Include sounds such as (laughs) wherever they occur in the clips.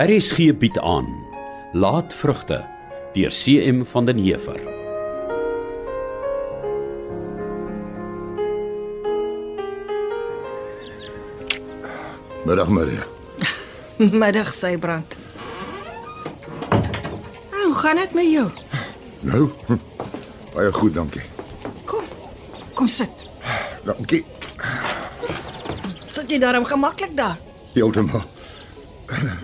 RSG bied aan Laatvrugte deur CM van den Heever. Middag Maria. Middag, Sybrand. Ah, Hoe gaan dit met jou? Nou, hm, baie goed, dankie. Kom. Kom sit. Dankie. Sit jy daarom gemaklik daar? Heeltemal.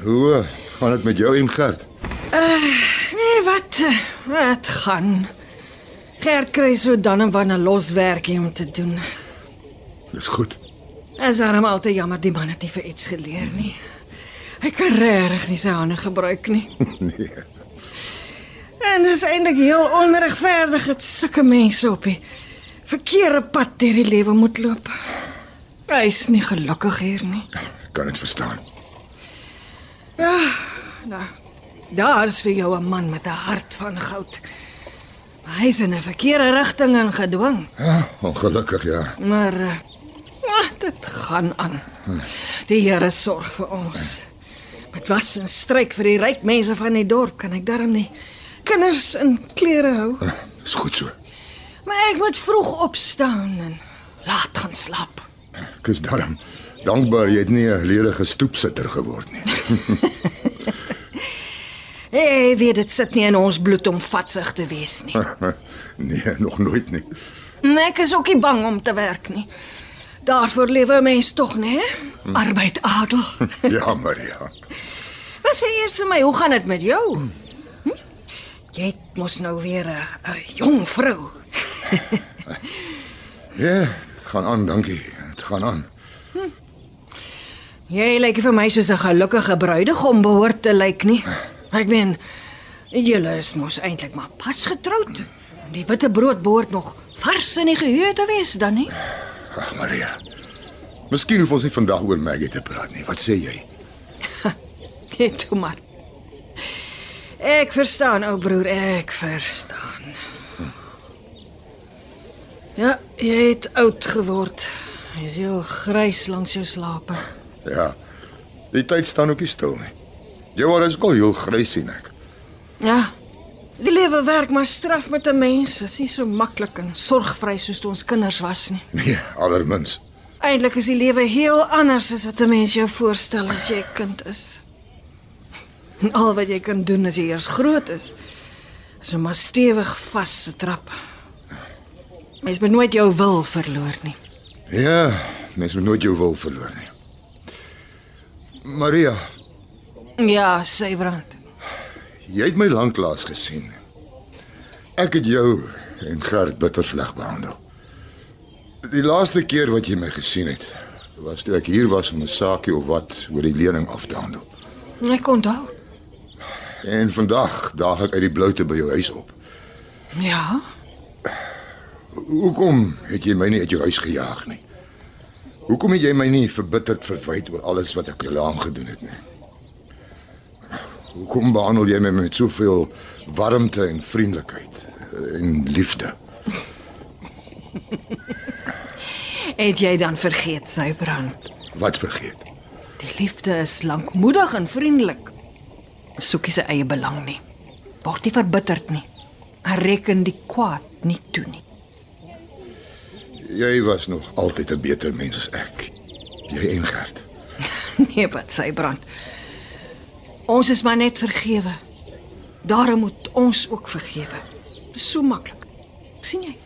Hoe eh, gaan dit met jou en Gert? Nee, wat? eh, Wat gaan? Gert kry so dan en wanneer loswerkie om te doen. Dis goed. (laughs) Is daarom al te jammer die man het nie vir iets geleer nie. Hy kan regtig nie sy hande gebruik nie. nee. En dis eintlik heel onregverdig dat sulke mense op die verkeerde pad deur die lewe moet loop. Hy's nie gelukkig hier nie. ek Kan dit verstaan. Nou, daar is vir jou 'n man met 'n hart van goud. Maar hy's in 'n verkeerde rigting ingedwing. Ja, ongelukkig ja. Maar eh, ah, dit gaan aan. Die Here sorg vir ons. Met was 'n stryk vir die ryk mense van die dorp kan ek darm nie kinders in klere hou. Eh, Dis goed so. Maar ek moet vroeg opstaan en laat gaan slaap. Ek is darm dankbaar jy het nie 'n ledige stoepsitter geword nie. (laughs) Hey, weet dit sit nie in ons bloed om vatsig te wees nie. nee, nog nooit nie. En Nee, Ek is ook nie bang om te werk nie. Daarvoor lewe 'n mens tog, né? Arbeid adel. Ja, Maria. Wat sê eers vir my, hoe gaan dit met jou? Hm? Jy het mos nou weer 'n 'n jong vrou. Ja, dit gaan aan, dankie. Dit gaan aan. Jy lyk vir my soos 'n gelukkige bruidegom behoort te lyk nie. Ek meen, julle is mos eintlik maar pas getroud. Die witte brood behoort nog vars in die geheue te wees dan nie? Ag Maria. Miskien hoef ons nie vandag oor Maggie te praat nie. Wat sê jy? Net Nee, toe maar. Ek verstaan, ou broer, ek verstaan. Ja, jy het oud geword. Jy's heel grys langs jou slape. Ja. Die tyd staan ook nie stil nie. Jou haar is ook al heel grys sien ek. Ja. Die lewe werk maar straf met 'n mens. Dit is nie so maklik en sorgvry soos toe ons kinders was nie. Nee, allermins. Eintlik is die lewe heel anders as wat 'n mens jou voorstel as jy 'n kind is. En al wat jy kan doen as jy eers groot is, is om maar stewig vas te trap. Mens moet nooit jou wil verloor nie. Ja, mens moet nooit jou wil verloor nie. Maria, Ja, Sybrand. jy het my lanklaas gesien. Ek het jou en Gert bitter sleg behandel. Die laaste keer wat jy my gesien het, was toe ek hier was om 'n saakie of wat oor die lening af te handel. Ek onthou. En vandag daag ek uit die bloute by jou huis op. Ja. Hoekom het jy my nie uit jou huis gejaag nie? Hoekom het jy my nie verbitterd verwyd oor alles wat ek jou aangedoen het nie? Hoekom behandel jy my met soveel warmte en vriendelikheid eh, en liefde? Het jy dan vergeet, Sybrand? Wat vergeet? Die liefde is lankmoedig en vriendelik. Soek nie sy eie belang nie. Word nie verbitterd nie. Hy reken die kwaad nie toe nie. Jy was nog altyd 'n beter mens as ek. Jy en Gert. Nee, wat sê brand. Ons is maar net vergewe. Daarom moet ons ook vergewe. Dis so maklik. sien jy?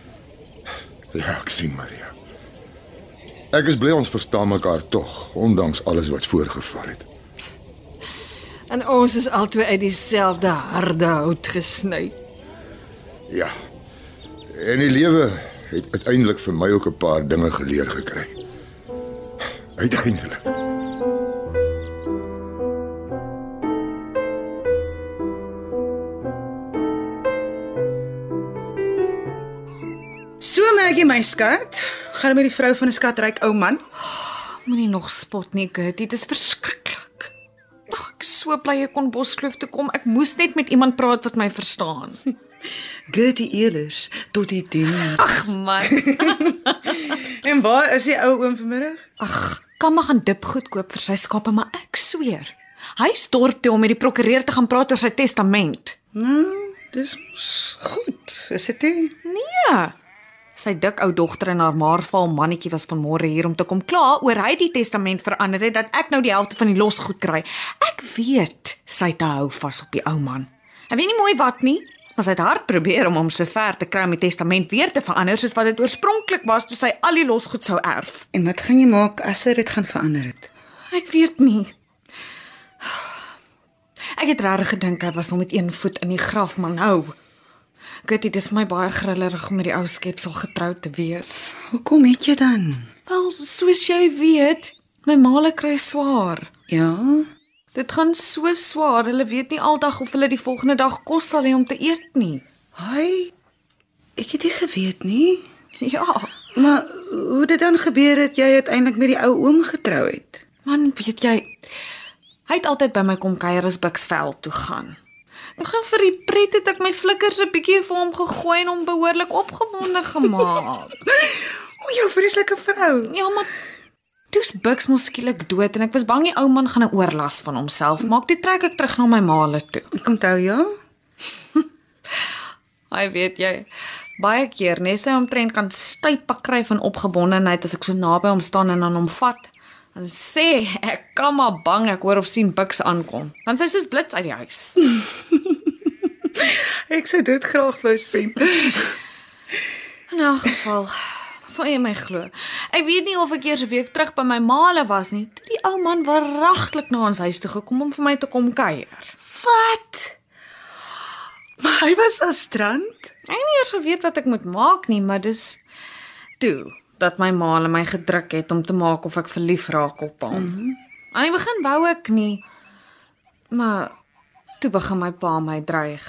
Ja, ek sien Maria. Ek is bly ons verstaan mekaar tog, ondanks alles wat voorgeval het. En ons is albei uit dieselfde harde hout gesny. Ja. En die lewe het uiteindelik vir my ook 'n paar dinge geleer gekry. Uiteindelik. So merk jy my skat, gaan met die vrou van 'n skatryk ou man. Moenie nog spot nie, Gert. Dit is verskriklik. Ag, ek is so bly ek kon Boskloof toe kom. Ek moes net met iemand praat wat my verstaan. Gertie Elers tot die 10. Ag man, En waar is die ou oom vanmiddag? ag, kan maar gaan dip goed koop vir sy skape, maar ek sweer, Hy's dorp toe om met die prokureur te gaan praat oor sy testament. Nou, dis mos goed. Is dit nie? Nee. Sy dik ou dogter en haar maarval mannetjie was vanmôre hier om te kom kla oor hy die testament verander het dat ek nou die helfte van die losgoed kry. Ek weet sy te hou vas op die ou man. Ek weet nie mooi wat nie, maar sy het hard probeer om hom so ver te kry om die testament weer te verander soos wat dit oorspronklik was toe sy al die losgoed sou erf. En wat gaan jy maak as hy dit gaan verander het? Ek weet nie. Ek het regtig gedink hy was al met een voet in die graf, maar nou. Gitty, dis vir my baie grillerig om met die ou skepsel getroud te wees. Hoekom het jy dan? Wel, soos jy weet, my maale kry swaar. Ja, Dit gaan so swaar. Hulle weet nie aldag of hulle die volgende dag kos sal hê om te eet nie. (laughs) Hi. Ek het dit geweet nie, Ja, maar hoe dit dan gebeur het jy uiteindelik met die ou oom getrou het. man, weet jy, hy het altyd by my kom kuier as Buxveld toe gaan. Ek gaan vir die pret het ek my flikkers 'n bietjie vir hom gegooi en hom behoorlik opgewonde gemaak. (laughs) O, jou vreeslike vrou. Ja, maar toe's Bux mos skielik dood en ek was bang die ou man gaan 'n oorlas van homself maak. Toe trek ek terug na my maale toe. Ek onthou ja. Hy weet jy, baie keer net sy omtrent kan stypak kry van opgewondenheid as ek so naby hom staan en aan hom vat. Dan sê ek kan maar bang ek hoor of sien Bux aankom. Dan sy soos blits uit die huis. Ek sou dit graag wou sien. In elk geval, sal jy my glo. Ek weet nie of ek eers 'n week terug by my maale was nie, toe die ou man waaragtelik na ons huis toe gekom om vir my te kom kuier. (laughs) Wat? Maar hy was aan strand. Ek het nie eers geweet wat ek moet maak nie, maar dis toe dat my ma hulle my gedruk het om te maak of ek verlief raak op hom. Mm -hmm. Aan die begin wou ek nie, maar toe begin my pa my dreig,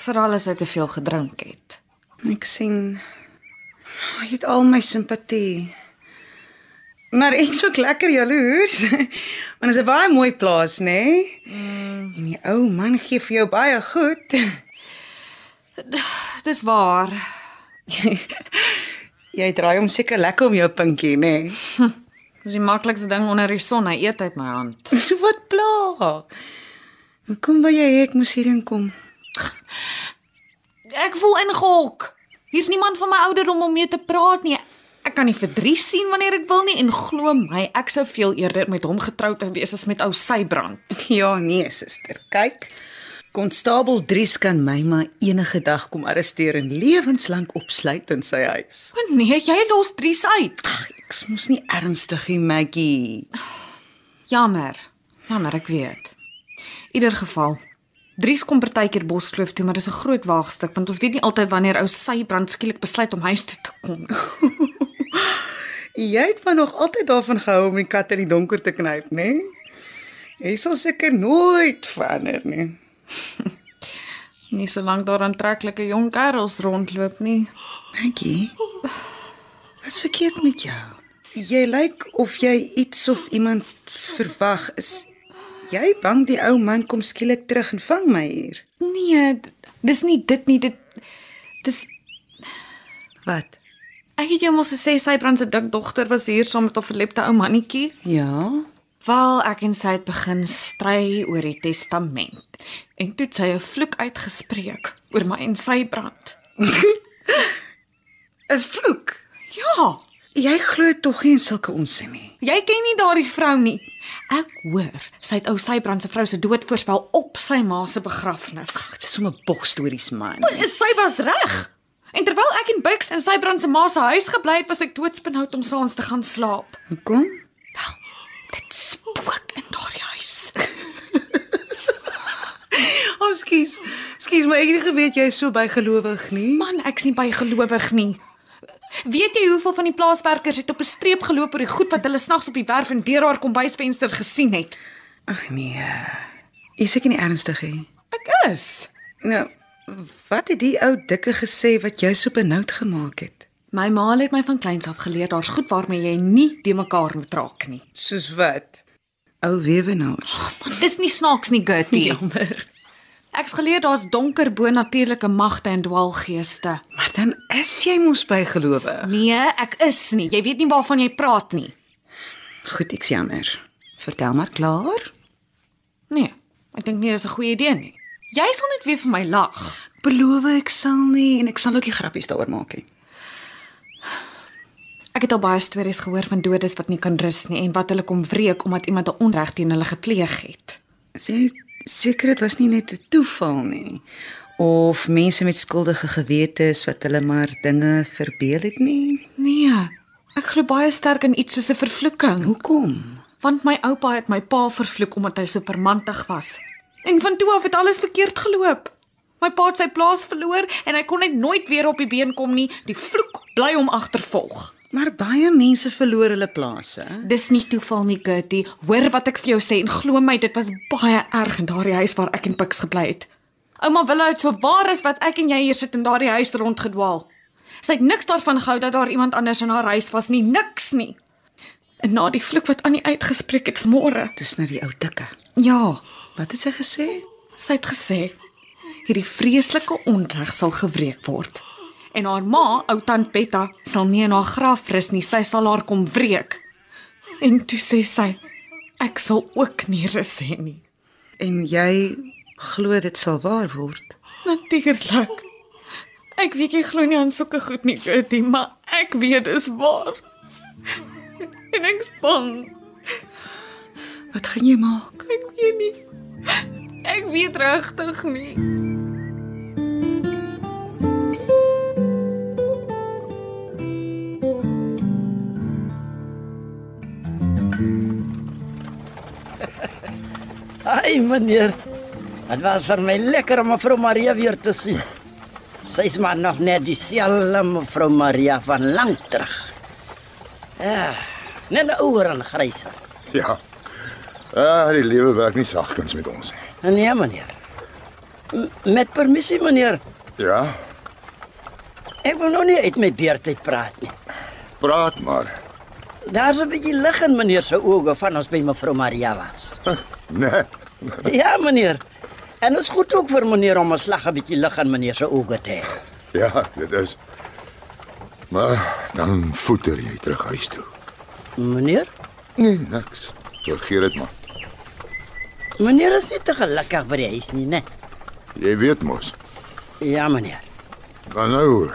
veral as hy te veel gedrink het. Ek sien hy het al my simpatie. Maar ek sou lekker jaloers. (laughs) Want dit is 'n baie mooi plaas, nê? Nee? Mm. En die ou man gee vir jou baie goed. Dis waar. Jy draai hom seker lekker om jou pinkie, nê? Nee? Dis die maklikste ding onder die son, hy eet uit my hand. So wat pla. Hoekom wil jy hê ek moes hierheen kom? (laughs) Ek voel ingehok. Hier's niemand van my ouderdom om mee te praat nie. Ek kan nie vir Dries sien wanneer ek wil nie en glo my, ek sou veel eerder met hom getroud wou wees as met ou Sybrand. Ja, nee, suster. Kyk. Konstabel Dries kan my maar enige dag kom arresteer en lewenslank opsluit in sy huis. O nee, jy los Dries uit. Ek moes nie ernstig hê, Maggie. Jammer. Jammer, ek weet. In ieder geval, Dries kom partykeer Boskloof toe, maar dis 'n groot waagstuk want ons weet nie altyd wanneer ou Sybrand skielik besluit om huis toe te kom. Jy het maar nog altyd daarvan gehou om die kat in die donker te knyp, nê? Nee? Jy sal seker nooit verander nie. Nie solank daar aantreklike jong kerels rondloop nie. Dankie. Wat's verkeerd met jou? Jy lyk of jy iets of iemand verwag is. Jy bang die ou man kom skielik terug en vang my hier. Nee, d- dis nie dit nie, dit dis Wat? Ek het jou mos gesê Sybrand se dik dogter was hier saam met 'n verlepte ou mannetjie. Ja. Wel, ek en sy het begin stry oor die testament. En toe het sy 'n vloek uitgespreek oor my en Sybrand. 'n Vloek. Ja, Jy glo tog nie in sulke onsin nie. jy ken nie daardie vrou nie. Ek hoor sy het ou Sybrand se vrou se dood voorspel op sy ma se begrafnis. Dit is sommer bogstories man. En sy was reg. En terwyl ek en Bix in Sybrand se ma se huis gebly het, was ek doodsbenoud om saans te gaan slaap. Hoekom? Wel, dit spook in daardie huis. Oh, skus. Skus, maar ek het nie geweet jy is so bygelowig nie. Man, ek's nie bygelowig nie. Weet jy hoeveel van die plaaswerkers het op 'n streep geloop oor die goed wat hulle snags op die werf en deur haar kombuisvenster gesien het? Ag nee. Jy seker nie ernstig hè? Ek is. Nou, wat het die ou dikke gesê wat jou so benoud gemaak het? My ma het my van kleins af geleer daar's goed waarmee jy nie te mekaar moet raak nie. Soos wat? Ou weewenaar. Man, dis nie snaaks nie, Gertie. (laughs) Ja. Jammer. Ek's geleer daar's donker bo-natuurlike magte en dwaalgeeste. Maar dan is jy mos bygelowig. Nee, ek is nie. Jy weet nie waarvan jy praat nie. Goed, ek's jammer. Vertel maar klaar. Nee, ek dink nie dis 'n goeie idee nie. Jy sal net weer vir my lag. Beloof ek sal nie en ek sal ook nie grappies daaroor maak nie. Ek het al baie stories gehoor van dodes wat nie kan rus nie en wat hulle kom wreek omdat iemand 'n onreg teen hulle gepleeg het. As jy seker dit was nie net 'n toeval nie of mense met skuldige gewetes wat hulle maar dinge verbeel het nie. Nee, ek glo baie sterk in iets soos 'n vervloeking. Hoekom? Want my oupa het my pa vervloek omdat hy so permantig was. En van toe af het alles verkeerd geloop. My pa het sy plaas verloor en hy kon net nooit weer op die been kom nie. Die vloek bly hom agtervolg. Maar baie mense verloor hulle plase. Dis nie toeval nie, Gertie. Hoor wat ek vir jou sê en glo my, dit was baie erg in daardie huis waar ek en Pix gebly het. Ouma Willa het so waar as wat ek en jy hier sit in daardie huis rondgedwaal. Sy het niks daarvan gehou dat daar iemand anders in haar huis was nie, niks nie. En na die vloek wat Annie uitgespreek het vanmôre. Dis nou die ou dikke. Ja, Wat het sy gesê? Sy het gesê hierdie vreeslike onreg sal gewreek word. En haar ma, ou tant Betta, sal nie in haar graf rus nie. Sy sal haar kom wreek. En toe sê sy, ek sal ook nie rus hê nie. En jy glo dit sal waar word? Natuurlik. Ek weet jy glo nie aan sulke goed nie, Gertie, maar ek weet dis waar. En ek's bang. Wat gaan jy maak? Ek weet nie. Ek weet regtig nie. Ai meneer. Dit was vir my lekker om mevrou Maria weer te sien. Sy's maar nog net dieselfde mevrou Maria van lank terug. Ja, net 'n ouer en gryser. Ja. Ah, die lewe werk nie sagkens met ons nie. Nee meneer. M met permissie meneer. Ja, Ek wil nou nie uit my beertyd praat nie. praat maar. Daar's 'n bietjie lig in meneer se oë van ons by mevrou Maria was. Nee. Ja meneer. En dit is goed ook vir meneer om 'n slag 'n bietjie lig in meneer se oë te hê. Ja, dit is. Maar dan voeter jy terug huis toe. Meneer? Nee, niks. Vergeet dit maar. Meneer is nie te gelukkig by die huis nie, né? Jy weet mos. Ja, meneer. Dan nou.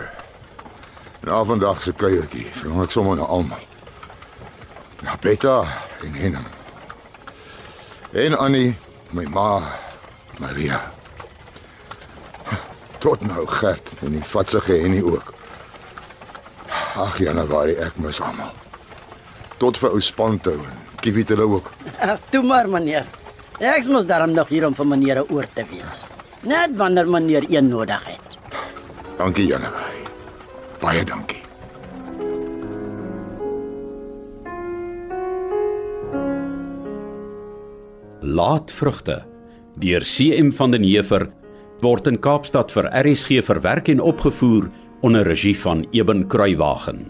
Na vandag se kuiertjie, vra ek sommer na almal. Na Betta en Henning. En Annie, my ma, Maria. Tot nou Gert en die vatsige Henny ook. Ag Januarie, ek mis almal. Tot vir ou Spanto en Kiewit hulle ook. Ag, toe maar, meneer. Ek mos daarom nog hier om vir meneer 'n oor te wees. Net wanneer meneer een nodig het. Dankie Januarie. Baie dankie. Laatvrugte deur CM van den Heever word in Kaapstad vir RSG verwerk en opgevoer onder regie van Eben Kruiwagen.